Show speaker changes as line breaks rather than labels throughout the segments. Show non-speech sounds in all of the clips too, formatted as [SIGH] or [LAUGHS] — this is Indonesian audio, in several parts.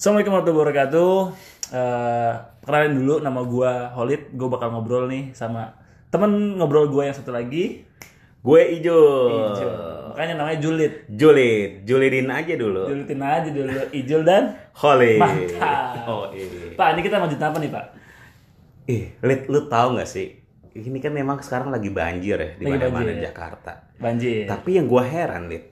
Assalamualaikum warahmatullahi wabarakatuh. Eh, kenalin dulu nama gua Holid. Gue bakal ngobrol nih sama temen ngobrol gua yang satu lagi.
Gue Ijo.
Ijul. Makanya namanya Julid.
Julid. Julidin aja dulu.
Julidin aja dulu Ijul dan
Holid.
Mantap.
Oh, iya.
Pak, ini kita lanjut apa nih, Pak?
Ih, Lid, lu tahu nggak sih? Ini kan memang sekarang lagi banjir ya di
Lagi
mana-mana
banjir. Iya.
Jakarta.
Banjir.
Tapi yang gua heran, Lid.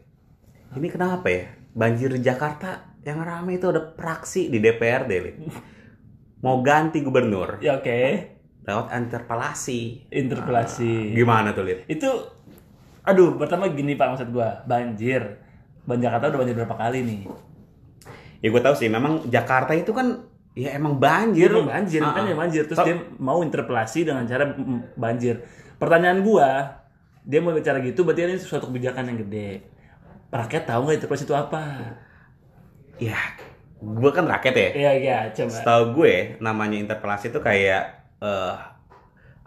Ini kenapa ya? Banjir di Jakarta yang rame itu ada praksi di DPRD, Lid. Mau ganti gubernur
Ya oke.
lewat interpelasi.
Interpelasi.
Gimana tuh, Lid?
Itu aduh, pertama gini Pak maksud gua, banjir. Ban Jakarta udah banjir berapa kali nih?
Ya gue tahu sih, memang Jakarta itu kan ya emang banjir.
Emang banjir,
Ah,
kan
ah.
yang banjir. Terus
Tau-
dia mau interpelasi dengan cara mm, banjir. Pertanyaan gua, dia mau bicara gitu berarti ini suatu kebijakan yang gede. Rakyat tahu nggak interpelasi itu apa?
Ya, gue kan rakyat ya.
Iya iya, coba.
Setahu gue namanya interpelasi itu kayak eh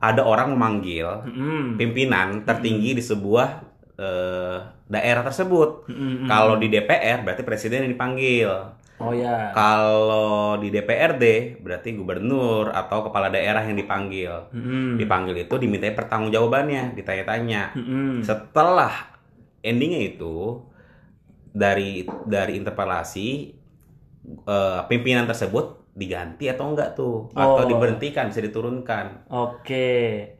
ada orang memanggil
Mm-mm.
pimpinan tertinggi di sebuah eh, daerah tersebut.
Mm-mm.
Kalau di DPR berarti presiden yang dipanggil.
Oh ya.
Kalau di DPRD berarti gubernur atau kepala daerah yang dipanggil.
Mm-mm.
Dipanggil itu dimintai pertanggungjawabannya, ditanya-tanya.
Mm-mm.
Setelah endingnya itu dari dari interpelasi eh, pimpinan tersebut diganti atau enggak tuh atau
Oh.
diberhentikan bisa diturunkan.
Oke.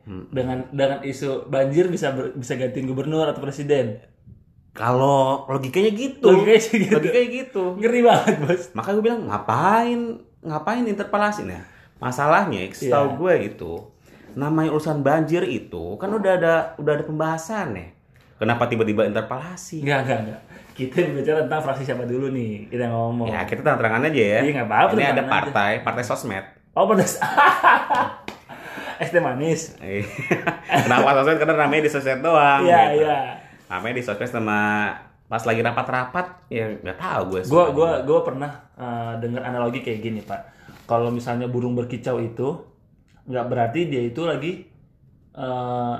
Hmm.
Dengan dengan isu banjir bisa ber- bisa gantiin gubernur atau presiden.
Kalau logikanya gitu.
Logikanya sih gitu.
Logikanya gitu.
Ngeri banget, Bos.
Maka gue bilang ngapain ngapain interpelasi nah. Masalahnya
Iya.
setahu gue itu namanya urusan banjir itu kan udah ada udah ada pembahasannya. Kenapa tiba-tiba interpelasi?
Enggak, enggak, enggak. Kita bicara tentang fraksi siapa dulu nih? Kita ngomong.
Ya, kita terang-terangan aja ya.
Iya, nggak apa-apa,
Ini ada
terang-terangan aja.
partai, partai sosmed.
Oh, pedas. [LAUGHS] es teh manis.
Iya. [LAUGHS] Kenapa sosmed? Karena namanya di sosmed doang.
Iya,
gitu.
iya.
Namanya di sosmed sama pas lagi rapat-rapat, ya nggak tahu gue.
Gua gua gua pernah eh, dengar analogi kayak gini, Pak. Kalau misalnya burung berkicau itu nggak berarti dia itu lagi eh,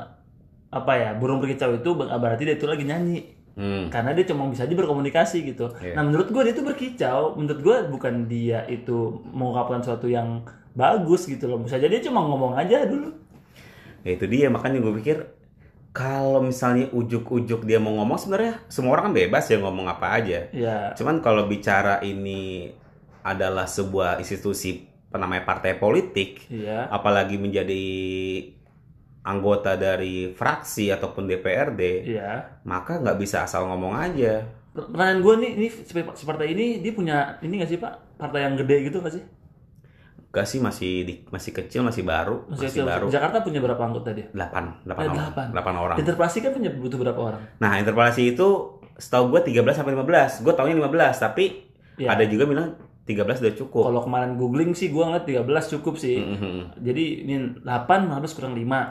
apa ya? Burung berkicau itu nggak berarti dia itu lagi nyanyi.
Hmm.
karena dia cuma bisa aja berkomunikasi gitu.
Iya.
Nah menurut gue dia itu berkicau, menurut gue bukan dia itu mengungkapkan sesuatu yang bagus gitu loh. Bisa jadi dia cuma ngomong aja dulu.
Ya, itu dia makanya gue pikir kalau misalnya ujuk-ujuk dia mau ngomong sebenarnya semua orang kan bebas ya ngomong apa aja.
Ya,
Cuman kalau bicara ini adalah sebuah institusi namanya partai politik,
iya.
apalagi menjadi anggota dari fraksi ataupun DPRD,
Iya.
maka nggak bisa asal ngomong aja.
Pertanyaan gue nih, ini sep- seperti ini dia punya ini nggak sih Pak? Partai yang gede gitu nggak sih?
Gak sih masih di- masih kecil masih baru
Maksudnya
masih
itu,
baru
Jakarta punya berapa anggota dia?
delapan delapan
Eh,
orang
delapan.
delapan orang.
Interpelasi kan punya butuh berapa orang?
Nah interpelasi itu setahu gue 13 sampai 15 gue taunya 15 tapi
Ya.
ada juga bilang 13 udah cukup.
Kalau kemarin googling sih gue ngeliat 13 cukup sih.
Mhm.
Jadi ini 8 habis kurang 5.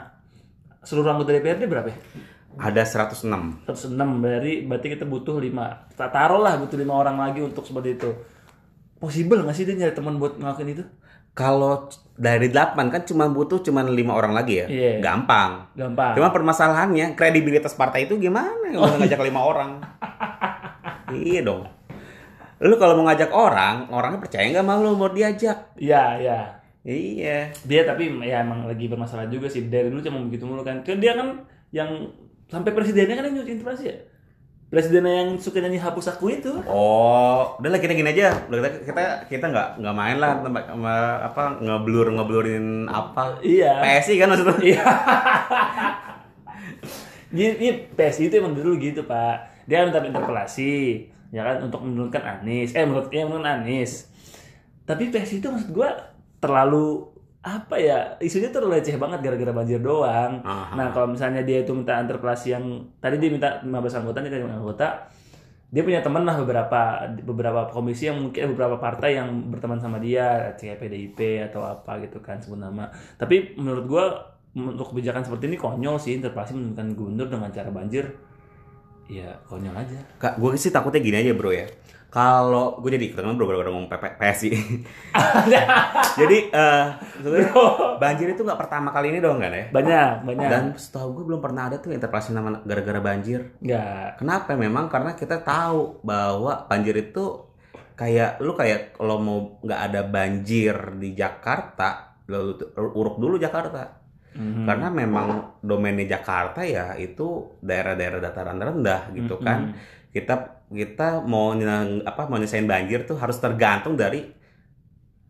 Seluruh anggota DPRD berapa ya?
Ada 106
106 dari berarti kita butuh 5 taruh lah butuh lima orang lagi untuk seperti itu possible nggak sih dia nyari teman buat ngelakuin itu
Kalau c- dari 8 kan cuma butuh cuma lima orang lagi ya.
Iya. Ah.
Gampang.
gampang
Cuma permasalahannya kredibilitas partai itu gimana kalau ngajak lima orang? iya dong. Lu kalau mau ngajak orang, orangnya percaya nggak sama lu mau diajak?
iya iya
Iya.
dia tapi ya emang lagi bermasalah juga sih dari dulu cuma begitu mulu kan kan dia kan yang sampai presidennya kan yang nyuci interpelasi ya presidennya yang suka nyanyi hapus aku itu
Oh, udahlah kita gini aja. Udah Kita kita kita nggak nggak main lah tempat sama apa ngeblur ngeblurin apa.
iya
PSI kan maksudnya.
iya jadi ini PSI itu emang dulu gitu pak dia minta interpelasi ya kan untuk menurunkan Anies eh menurut ya menurun Anies tapi PSI itu maksud gua terlalu apa ya isunya tuh leceh banget gara-gara banjir doang
Aha.
nah kalau misalnya dia itu minta interpelasi yang tadi dia minta 15 anggota dia minta 5 anggota dia punya teman lah beberapa beberapa komisi yang mungkin eh, beberapa partai yang berteman sama dia kayak PDIP atau apa gitu kan sebut nama tapi menurut gua untuk kebijakan seperti ini konyol sih interpelasi menentukan gubernur dengan cara banjir ya konyol
[LAUGHS]
aja
Kak, gue sih takutnya gini aja bro ya. Kalau gue jadi ikutan bro gara-gara ngomong PP PSI. [LAUGHS] jadi eh, maksudnya banjir itu nggak pertama kali ini dong kan ya?
banyak banyak
Dan setahu gue belum pernah ada tuh interpelasi nama gara-gara banjir.
nggak
Kenapa? Memang karena kita tahu bahwa banjir itu kayak lu kayak kalau mau nggak ada banjir di Jakarta, lalu uruk dulu Jakarta.
Mhm.
Karena memang domainnya Jakarta ya itu daerah-daerah dataran rendah gitu kan
Mhm.
kita kita mau nyenang- apa mau nyesain banjir tuh harus tergantung dari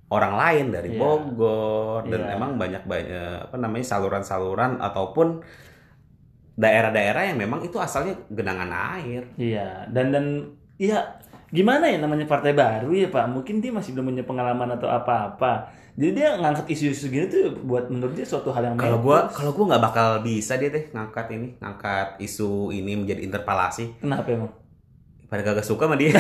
orang lain dari
Iya.
Bogor dan
Iya.
emang banyak banyak apa namanya saluran-saluran ataupun daerah-daerah yang memang itu asalnya genangan air
Iya, dan dan iya gimana ya namanya partai baru ya Pak? Mungkin dia masih belum punya pengalaman atau apa-apa. Jadi dia ngangkat isu-isu gini tuh buat menurut dia suatu hal yang
kalau
bagus.
gua kalau gua nggak bakal bisa dia deh ngangkat ini ngangkat isu ini menjadi interpelasi
kenapa emang? [LAUGHS]
pada kagak suka sama dia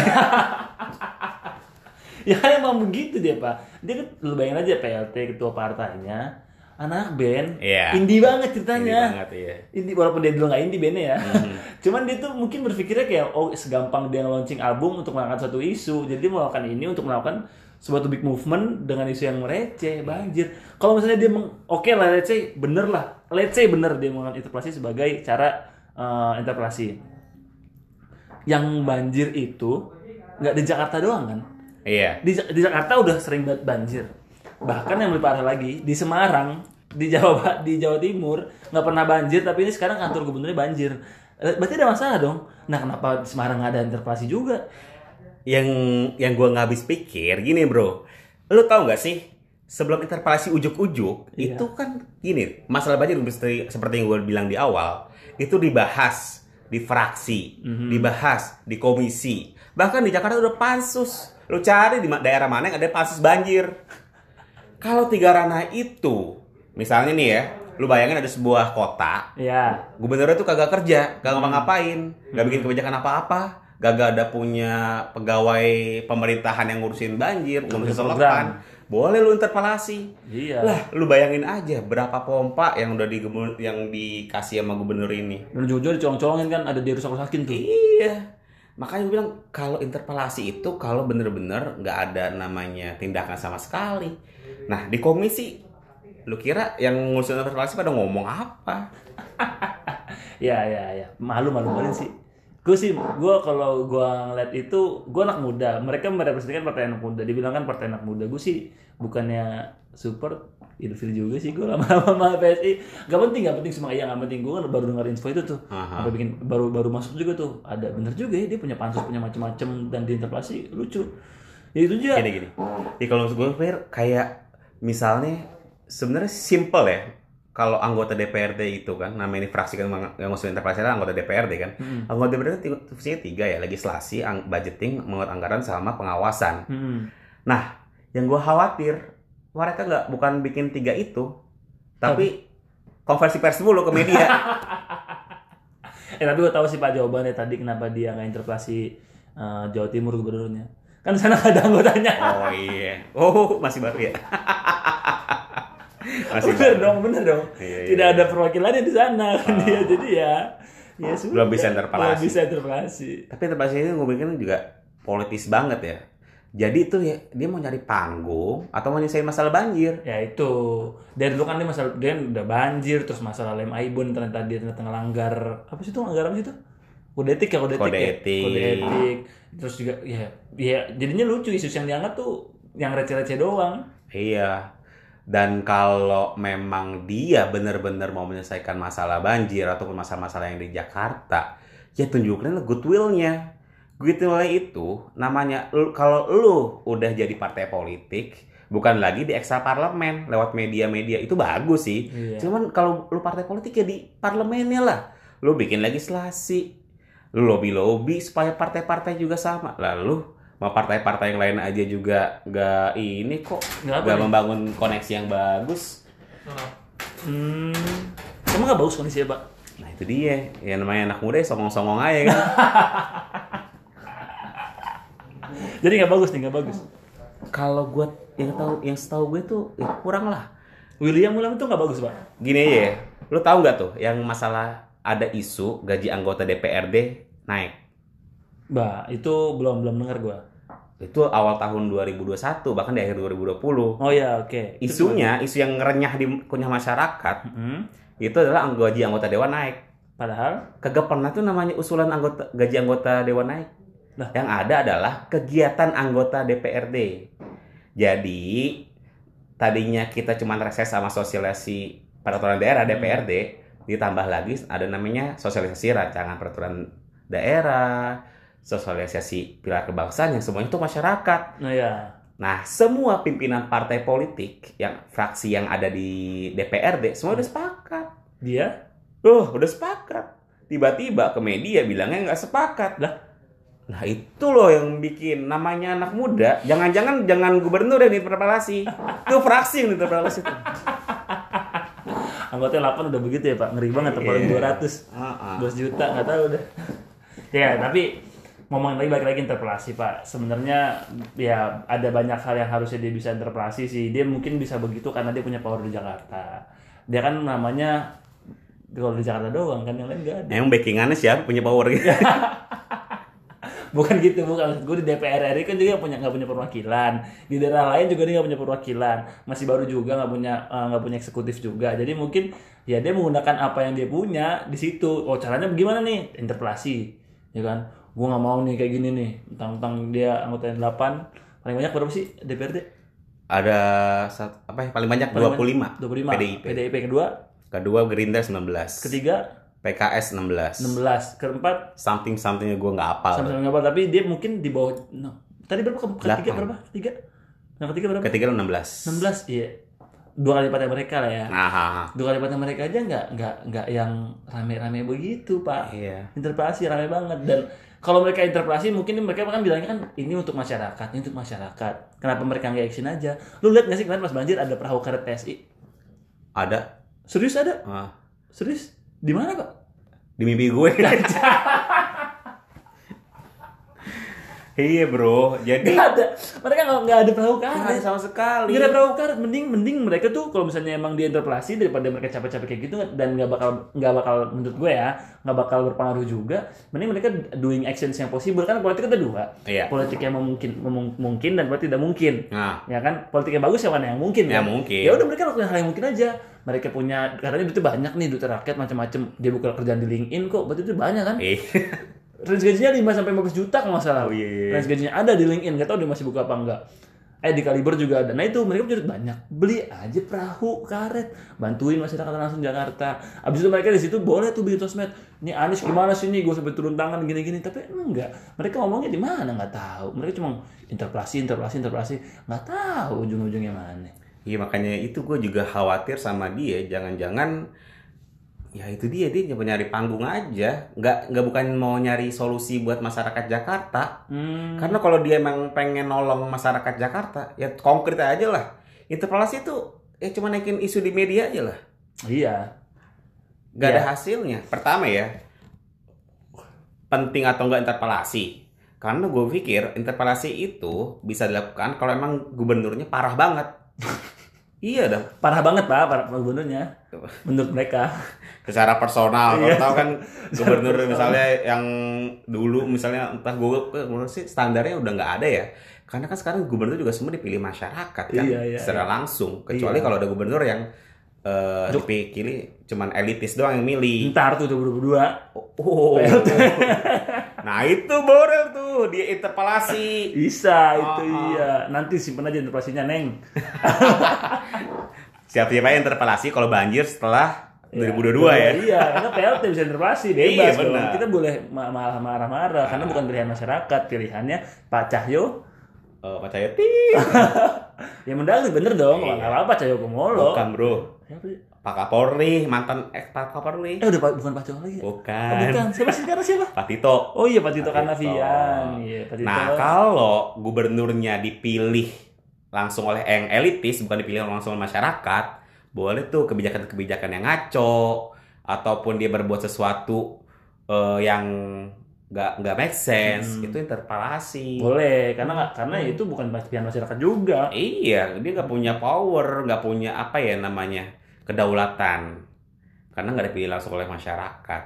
Ya kan emang begitu dia Pak. Dia kan lu bayangin aja PLT ketua partainya, anak band,
Iya.
indie banget
Ini
ceritanya.
banget Hmm. iya
Indie walaupun dia dulu nggak indie bandnya ya. [LAUGHS] Cuman dia tuh mungkin berpikirnya kayak oh segampang dia launching album untuk melakukan suatu isu. Jadi dia melakukan ini untuk melakukan suatu big movement dengan isu yang receh, banjir. Kalau misalnya dia meng- oke lah receh, bener lah. Receh bener dia melakukan interpelasi sebagai cara eh, interpelasi. Yang banjir itu nggak di Jakarta doang kan?
iya
Di, Ja- di Jakarta udah sering banget banjir. Bahkan yang lebih parah lagi di Semarang, di Jawa Ba- di Jawa Timur nggak pernah banjir, tapi ini sekarang kantor gubernurnya banjir. Eh, Berarti ada masalah dong. Nah kenapa di Semarang nggak ada interpelasi juga?
yang yang gua nggak habis pikir gini bro lu tahu nggak sih sebelum interpelasi ujuk-ujuk
Iya.
itu kan gini masalah banjir seperti seperti yang gua bilang di awal itu dibahas di fraksi dibahas di komisi bahkan di Jakarta udah pansus lu cari di ma- daerah mana yang ada pansus banjir kalau tiga ranah itu misalnya nih ya lu bayangin ada sebuah kota
Ya,
gubernurnya tuh kagak kerja, kagak ngapa-ngapain, gak bikin kebijakan apa-apa, kagak ada punya pegawai pemerintahan yang ngurusin banjir,
program.
ngurusin selokan, boleh lu interpelasi.
iya.
Lah, lu bayangin aja berapa pompa yang udah di yang dikasih sama gubernur ini.
Dan ujung-ujungnya dicolong-colongin kan ada dia rusak-rusakin tuh.
Iya. Makanya gue bilang kalau interpelasi itu kalau bener-bener nggak ada namanya tindakan sama sekali. Nah di komisi lu kira yang ngurusin interpelasi pada ngomong apa?
Ya ya ya malu malu banget sih. Gue sih gue kalau gue ngeliat itu gue anak muda. Mereka merepresentasikan partai anak muda. Dibilang kan partai anak muda. Gue sih bukannya support ilfil juga sih gue lama-lama sama PSI. Gak penting gak penting semua iya gak penting. Gue baru dengar info itu tuh.
Aha.
Apa bikin baru baru masuk juga tuh. Ada bener juga ya dia punya pansus punya macem-macem dan diinterpelasi lucu. Ya itu juga.
gini gini ya kalau menurut gue Fir, kayak misalnya sebenarnya simple ya kalau anggota DPRD itu kan namanya ini fraksi kan meng- yang ngusul interpelasi adalah anggota DPRD kan
Mm-mm.
anggota DPRD itu fungsinya tiga ya legislasi ang- budgeting mengatur anggaran sama pengawasan
Mm-mm.
nah yang gue khawatir mereka nggak bukan bikin tiga itu tapi konversi pers dulu ke
[LAUGHS]
media
Eh tapi gue tahu sih pak jawabannya tadi kenapa dia nggak interpelasi eh, Jawa Timur gubernurnya. Kan sana [LAUGHS] nggak ada anggotanya.
oh iya oh masih baru
[LAUGHS]
ya masih
bener
baru.
dong, bener dong.
Iya, Ah. iya,
Tidak
iya.
ada perwakilannya di sana kan dia. Jadi ya, ya sudah.
Belum bisa interpelasi.
Belum bisa interpelasi.
Tapi tempat ini gue bikin juga politis banget ya. Jadi itu ya dia mau nyari panggung atau mau nyelesain masalah banjir.
Ya itu. Dari dulu kan dia masalah dia udah banjir terus masalah lem Aibon ternyata dia ternyata ngelanggar apa sih itu ngelanggar apa sih itu? Kode etik ya kode etik.
Kode
ya?
etik.
Kode etik. Terus juga ya ya jadinya lucu isu yang diangkat tuh yang receh-receh doang.
Iya. Dan kalau memang dia benar-benar mau menyelesaikan masalah banjir ataupun masalah-masalah yang di Jakarta, ya tunjukin goodwill-nya. Goodwill itu namanya lu- kalau lu udah jadi partai politik, bukan lagi di ekstra parlemen lewat media-media itu bagus sih.
Iya.
Cuman kalau lu partai politik ya di parlemennya lah. Lu bikin legislasi, lu lobby-lobby supaya partai-partai juga sama. Lalu mau partai-partai yang lain aja juga gak ini kok
Nggak apa ya?
gak
nih?
membangun koneksi yang bagus.
Hmm. Emang gak bagus kondisinya, Pak?
Nah itu dia, ya namanya anak muda ya songong-songong aja kan.
Jadi gak bagus nih, gak bagus.
[LAUGHS] kalau gue yang tahu yang setahu gue tuh ya kurang lah.
William Ulam itu gak bagus, Pak.
Gini aja ya, lu tahu nggak tuh yang masalah ada isu gaji anggota DPRD naik.
Bah, itu belum belum dengar gua.
Itu awal tahun 2021 bahkan di akhir 2020.
Oh ya, oke. Itu
Isunya, isu yang ngerenyah di kunyah masyarakat
Mm-mm.
itu adalah anggo- gaji anggota dewan naik.
Padahal
Kagak pernah tuh namanya usulan anggota gaji anggota dewan naik.
Lah.
Yang ada adalah kegiatan anggota DPRD. Jadi tadinya kita cuma reses sama sosialisasi peraturan daerah DPRD ditambah lagi ada namanya sosialisasi rancangan peraturan daerah, sosialisasi pilar kebangsaan yang semuanya itu masyarakat.
nah ya.
Nah, semua pimpinan partai politik yang fraksi yang ada di DPRD semua udah sepakat.
Dia
Loh, udah sepakat. Tiba-tiba ke media bilangnya nggak sepakat lah. Nah, itu loh yang bikin namanya anak muda. Jangan-jangan jangan gubernur yang diinterpelasi. Itu fraksi yang diinterpelasi. tuh.
anggota 8 udah begitu ya, Pak. Ngeri banget terpaling
Iya.
200.
Heeh.
12 juta nggak tahu deh. [LAUGHS] ya tapi ngomongin lagi balik lagi interpelasi pak sebenarnya ya ada banyak hal yang harusnya dia bisa interpelasi sih dia mungkin bisa begitu karena dia punya power di Jakarta dia kan namanya kalau di Jakarta doang kan yang lain nggak ada
Emang Nah, backingannya siapa punya power gitu?
bukan gitu bukan gue di DPR RI kan juga punya nggak punya perwakilan di daerah lain juga dia nggak punya perwakilan masih baru juga nggak punya eh, nggak punya eksekutif juga jadi mungkin ya dia menggunakan apa yang dia punya di situ oh caranya gimana nih interpelasi ya kan gue nggak mau nih kayak gini nih tentang dia anggota yang 8 paling banyak berapa sih DPRD
[LAUGHS] Ada sat- apa ya paling banyak
Paling 25
25. PDIP.
PDIP kedua
Kedua Gerindra 19.
ketiga
PKS 16.
16 keempat
Something somethingnya gue nggak hafal.
sama-sama nggak apa tapi dia mungkin di bawah no. tadi berapa Ke- ketiga
Delapan.
berapa ketiga yang ketiga berapa
Ketiga lu 16.
16 iya dua kali lipatnya mereka lah ya
Nah, ha, ha.
dua kali lipatnya mereka aja nggak nggak nggak yang rame-rame begitu pak
Iya.
interpelasi rame banget dan kalau mereka interpelasi mungkin mereka kan bilangnya kan ini untuk masyarakat ini untuk masyarakat kenapa mereka nggak action aja lu lihat nggak sih kemarin pas banjir ada perahu karet PSI
Ada
serius ada
ah,
serius di mana pak [LAUGHS]
di mimpi gue. [LAUGHS] iya bro, jadi
nggak ada mereka nggak nggak ada perahu karet
ada sama sekali.
Gak ada perahu karet, Iya, mending mending mereka tuh kalau misalnya emang dia interpelasi daripada mereka capek-capek kayak gitu dan nggak bakal nggak bakal menurut gue ya nggak bakal berpengaruh juga. Mending mereka doing actions yang possible kan politik ada dua,
Iya.
politik yang memungkin memung- mungkin dan politik tidak mungkin.
Nah,
Ya kan, politik yang bagus yang mana yang mungkin
Ya,
kan?
mungkin.
Ya udah mereka lakukan hal yang mungkin aja. Mereka punya katanya duitnya banyak nih duitnya rakyat macam-macam. Dia buka kerjaan di LinkedIn kok, berarti itu banyak kan?
eh,
range gajinya 5 sampai 15 juta kalau nggak salah.
Oh, iya, iya.
Range gajinya ada di LinkedIn, nggak tahu dia masih buka apa enggak. Eh di Kaliber juga ada. Nah itu mereka punya duit banyak. Beli aja perahu karet, bantuin masyarakat langsung Jakarta. Abis itu mereka di situ boleh tuh bikin sosmed. Ini Anies gimana sih nih? Gue sampai turun tangan gini-gini. Tapi enggak. Mereka ngomongnya di mana nggak tahu. Mereka cuma interpelasi, interpelasi, interpelasi. Nggak tahu ujung-ujungnya mana.
iya makanya itu gue juga khawatir sama dia. Jangan-jangan ya itu dia dia cuma nyari panggung aja. Nggak nggak bukan mau nyari solusi buat masyarakat Jakarta.
Hmm.
Karena kalau dia emang pengen nolong masyarakat Jakarta, ya konkret aja lah. Interpelasi itu ya cuma naikin isu di media aja lah.
Iya.
Gak ada
Ya.
hasilnya. Pertama ya, penting atau enggak interpelasi. Karena gue pikir interpelasi itu bisa dilakukan kalau emang gubernurnya
[LAUGHS]
parah banget. iya dah.
Parah banget pak, parah gubernurnya. Menurut mereka.
Secara personal, kalau
Iya.
tahu kan
[LAUGHS]
gubernur
personal.
misalnya yang dulu misalnya entah gue eh, menurut sih standarnya udah nggak ada ya. Karena kan sekarang gubernur juga semua dipilih masyarakat kan
Iya, iya,
secara langsung.
Iya.
Kecuali kalau ada gubernur yang eh,
Duk.
dipilih cuman elitis doang yang milih.
Ntar tuh 2022
Oh. nah itu Borel tuh dia interpelasi.
Bisa itu
Ah, ah.
iya. Nanti simpen aja interpelasinya Neng.
Siapa-siapa yang interpelasi kalau banjir setelah 2022 ya.
Iya, karena PLT bisa interpelasi
Iya,
bebas. dong.
benar. Ah.
Kita boleh ma- malah marah-marah karena bukan pilihan masyarakat, pilihannya Pak Cahyo.
Oh, Pak Cahyo, "Tik."
Ya mendagri bener dong,
Iya.
nggak apa-apa Cahyo Kumolo.
Bukan, Bro.
Siapa sih?
Pak Kapolri, mantan ex Pak Kapolri.
Eh udah Pak- bukan Pak Cahyo lagi. ya? Oh,
Bukan.
bukan. Siapa sih sekarang siapa?
Pak Tito.
Oh iya Pak Tito
Pak Tito.
Karnavian. Iya, Pak Tito.
Nah, kalau gubernurnya dipilih langsung oleh yang elitis, bukan dipilih langsung oleh masyarakat, boleh tuh kebijakan-kebijakan yang ngaco ataupun dia berbuat sesuatu eh, yang nggak nggak make sense,
Hmm.
itu interpelasi.
boleh karena nggak- karena itu bukan pilihan masyarakat juga.
Iya, dia nggak punya power, nggak punya apa ya namanya kedaulatan, karena nggak dipilih langsung oleh masyarakat.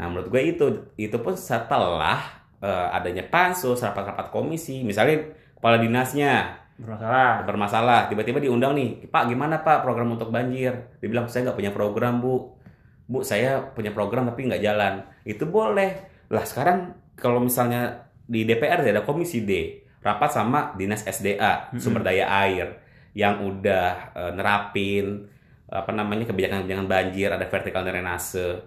Nah menurut gue itu itu pun setelah eh, adanya pansus, rapat-rapat komisi, misalnya kepala dinasnya
bermasalah
Nah, bermasalah, tiba-tiba diundang nih, Pak gimana Pak program untuk banjir? Dibilang saya nggak punya program Bu, Bu saya punya program tapi nggak jalan, itu boleh. Lah sekarang kalau misalnya di DPR ada komisi D, rapat sama dinas SDA
Mm-mm.
sumber daya air yang udah eh, nerapin apa namanya kebijakan-kebijakan banjir, ada vertikal drainase.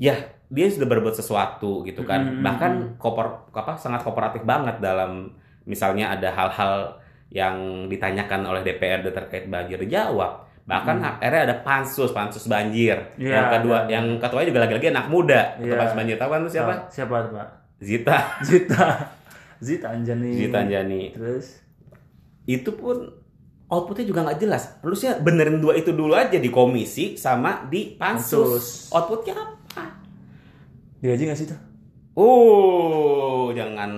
Ya, dia sudah berbuat sesuatu gitu kan.
Mm-mm.
Bahkan kopor apa sangat kooperatif banget dalam misalnya ada hal-hal yang ditanyakan oleh DPRD terkait banjir dijawab. Bahkan akhirnya ada pansus, pansus banjir.
Hmm. Iya,
yang kedua,
iya.
yang ketuanya juga lagi-lagi anak muda. Ketua
Iya. Hmm.
pansus banjir tahu kan lu siapa?
Nah, siapa tuh, pak
Zita,
Zita Zita Anjani
Zita Anjani.
terus
Itu pun outputnya juga nggak jelas. Harusnya benerin dua itu dulu aja di komisi sama di
Pansus.
pansus. Outputnya apa?
digaji nggak sih tuh
Uh, jangan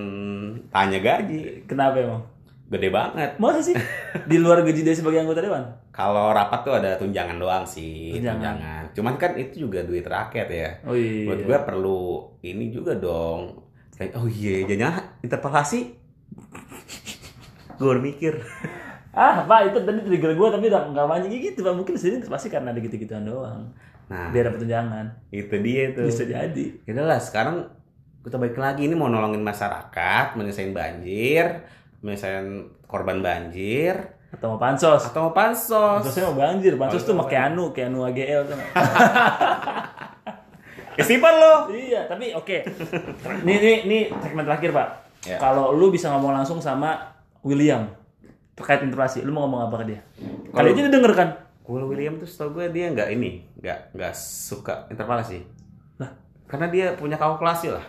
tanya gaji,
kenapa emang
gede banget.
masa sih di luar gaji dia sebagai anggota dewan
Kalau rapat tuh ada tunjangan doang sih, tunjangan.
Tunjangan.
Cuman kan itu juga duit rakyat ya.
oh iya
Buat gue perlu ini juga dong. Kayak, oh iya, jangan interpelasi. gue mikir.
ah pak itu tadi trigger gue tapi udah nggak mancing gitu pak mungkin sini pasti karena ada gitu gituan doang
Nah,
biar dapat tunjangan
itu dia tuh.
bisa jadi
Ya udah lah sekarang kita balik lagi ini mau nolongin masyarakat, menyelesaikan banjir, menyelesaikan korban banjir,
atau mau pansos
atau mau pansos.
pansosnya mau banjir pansos
Oh,
tuh
iya.
sama Keanu Keanu AGL [LAUGHS] tuh
Istighfar lo.
iya tapi oke ini ini ini segmen terakhir pak
Ya.
kalau lu bisa ngomong langsung sama William terkait interpelasi lu mau ngomong apa ke dia kali
Kalau-
aja dia denger kan
Will William tuh setahu gue dia nggak ini, nggak nggak suka interpelasi.
Lah?
Karena dia punya kalkulasi lah.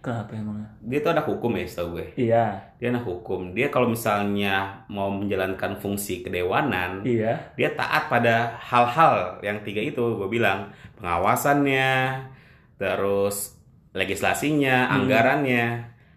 kenapa emangnya
Dia tuh anak hukum ya setahu gue.
iya
Dia anak hukum. Dia kalau misalnya mau menjalankan fungsi kedewanan,
iya
dia taat pada hal-hal yang tiga itu gue bilang pengawasannya terus legislasinya
Hmm.
anggarannya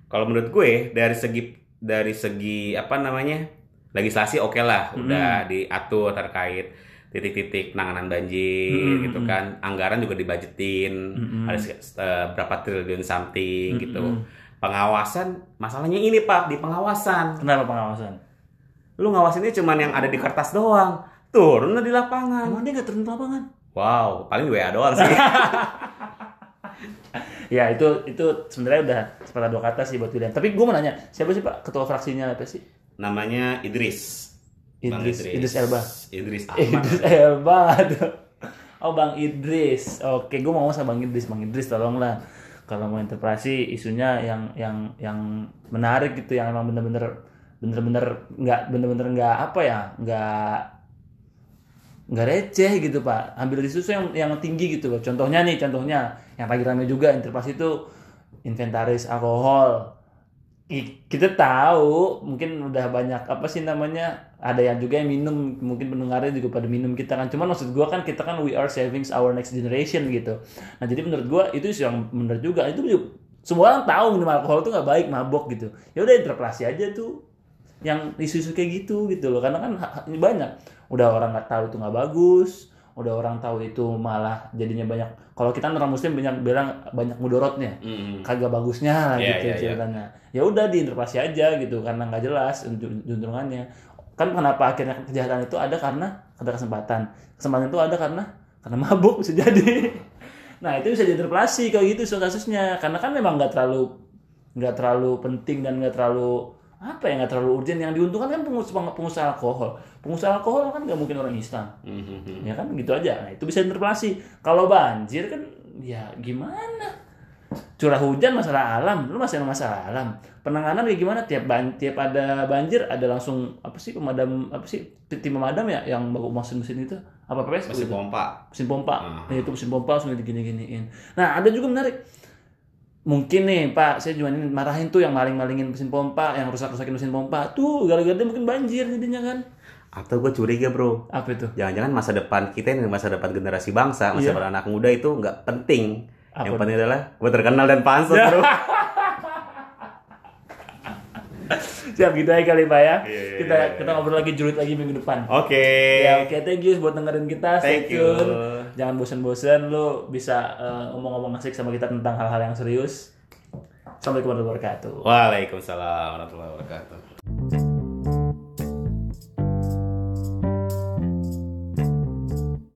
kalau menurut gue dari segi dari segi apa namanya legislasi oke lah
Hmm.
udah diatur terkait titik-titik penanganan banjir
Hmm,
gitu
hmm,
kan anggaran juga dibajetin
Mm-mm.
ada se- eh, berapa triliun something gitu
Mm-mm.
pengawasan masalahnya ini pak di pengawasan
kenapa pengawasan
lu ngawasinnya cuman yang ada di kertas doang turun di lapangan
emang dia nggak turun ke lapangan
wow paling WA doang [LAUGHS] sih
ya itu itu sebenarnya udah sepatah dua kata sih buat William tapi gue mau nanya siapa sih pak ketua fraksinya apa sih
namanya Idris Bang Ah.
Idris Idris Elba Eh,
Idris [LAUGHS] Ahmad
Idris Elba aduh. oh Bang Idris oke gue mau ngomong sama Bang Idris Bang Idris tolonglah kalau mau interpelasi isunya yang yang yang menarik gitu yang emang bener-bener bener-bener nggak bener-bener nggak apa ya nggak nggak receh gitu pak ambil isu yang yang tinggi gitu loh contohnya nih contohnya yang lagi rame juga interpelasi itu inventaris alkohol I- kita tahu mungkin udah banyak apa sih namanya ada yang juga yang minum mungkin pendengarnya juga pada minum kita kan cuman maksud gua kan kita kan we are savings our next generation gitu nah jadi menurut gua itu isu yang bener juga itu juga- semua orang tahu minum alkohol itu nggak baik mabok gitu ya udah interpelasi aja tuh yang isu-isu kayak gitu gitu loh karena kan ha- ha- ini banyak udah orang nggak tahu itu nggak bagus udah orang tahu itu malah jadinya banyak kalau kita orang muslim banyak bilang banyak mudorotnya
Mm.
kagak bagusnya lah
Iya,
gitu
iya, iya.
ceritanya. Ya udah diinterpelasi aja gitu karena nggak jelas untu- juntrungannya. Kan kenapa akhirnya kejahatan itu ada karena ada kesempatan. Kesempatan itu ada karena karena mabuk bisa jadi. [LAUGHS] nah itu bisa diinterpelasi kalau gitu soal kasusnya karena kan memang nggak terlalu nggak terlalu penting dan nggak terlalu apa ya nggak terlalu urgent yang diuntungkan kan pengusaha pengusaha alkohol pengusaha alkohol kan nggak mungkin orang Islam
Mhm.
ya kan gitu aja nah, itu bisa interpelasi kalau banjir kan ya gimana curah hujan masalah alam lu masih ada masalah alam penanganan kayak gimana tiap ban tiap ada banjir ada langsung apa sih pemadam apa sih tim pemadam ya yang bawa mesin-mesin itu apa PPS
masih pompa
mesin pompa
Ah.
Nah, itu mesin pompa langsung digini-giniin nah ada juga menarik mungkin nih pak saya cuma ini marahin tuh yang maling-malingin mesin pompa yang rusak-rusakin mesin pompa tuh gara-gara dia mungkin banjir jadinya kan
atau gue curiga bro
apa itu
jangan-jangan masa depan kita ini masa depan generasi bangsa masa
Iya.
depan anak muda itu nggak penting
Apa
yang penting adalah gue terkenal dan [LAUGHS] pansos bro
Siap gitu aja kali Pak ya.
Iya, iya,
kita
iya, iya.
kita ngobrol lagi julid lagi minggu depan.
oke
Ya oke, thank you buat dengerin kita. Stay
thank you
tune. jangan bosen-bosen lu bisa eh, ngomong-ngomong asik sama kita tentang hal-hal yang serius. Assalamualaikum warahmatullahi wabarakatuh.
Waalaikumsalam warahmatullahi wabarakatuh.